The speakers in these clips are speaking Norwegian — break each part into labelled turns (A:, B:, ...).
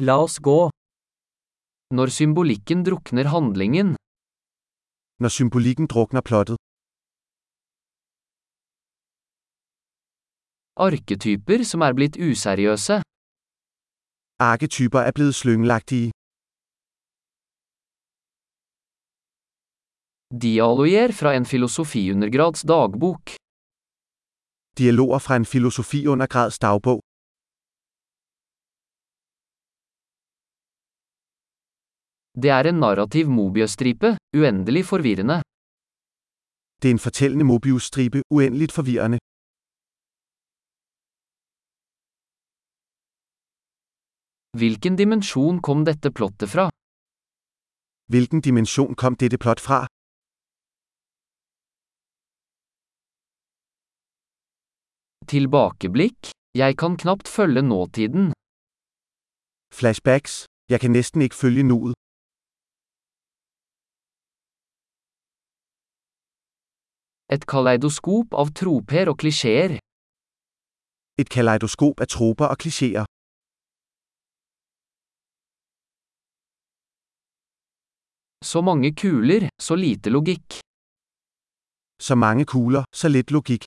A: La oss gå. Når symbolikken drukner handlingen,
B: Når symbolikken drukner plottet,
A: arketyper som er blitt useriøse,
B: arketyper er blevet slyngelagtige,
A: dialoger fra en filosofiundergrads dagbok,
B: dialoger fra en filosofiundergrads dagbog,
A: det er en narrativ mobiøstripe, uendelig forvirrende.
B: det er en fortællende Mobius-stribe, uendeligt forvirrende,
A: Hvilken dimensjon kom dette plottet fra?
B: hvilken dimension kom dette plot fra,
A: Tilbakeblikk? Jeg kan knapt følge nåtiden.
B: flashbacks, jeg kan næsten ikke følge nuet,
A: Et kaleidoskop av troper og klisjeer.
B: et kaleidoskop af troper og klichéer,
A: Så mange kuler, så lite logikk.
B: så mange kugler, så lidt logik,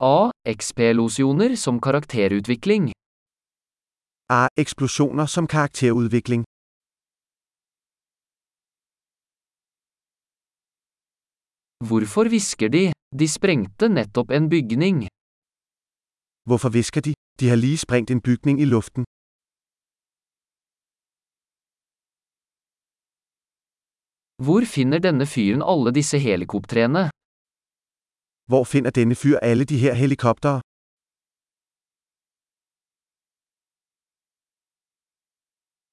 A: A. XP-losjoner som karakterutvikling.
B: a Ah, eksplosioner som karakterudvikling,
A: Hvorfor hvisker de? De sprengte nettopp en bygning.
B: hvorfor visker de, de har lige sprængt en bygning i luften,
A: Hvor finner denne fyren alle disse helikoptrene?
B: hvor finder denne fyr alle de her helikoptere,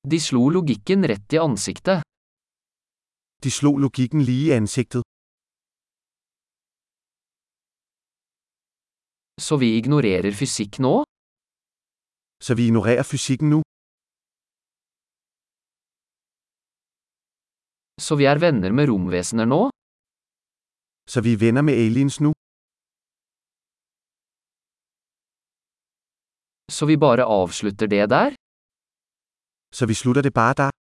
A: De slo logikken rett i ansiktet.
B: de slog logikken lige i ansigtet,
A: Så vi ignorerer fysikk nå?
B: så vi ignorerer fysikken nu,
A: Så vi er venner med romvesener nå?
B: så vi er venner med aliens nu,
A: Så vi bare avslutter det der?
B: så vi slutter det bare der.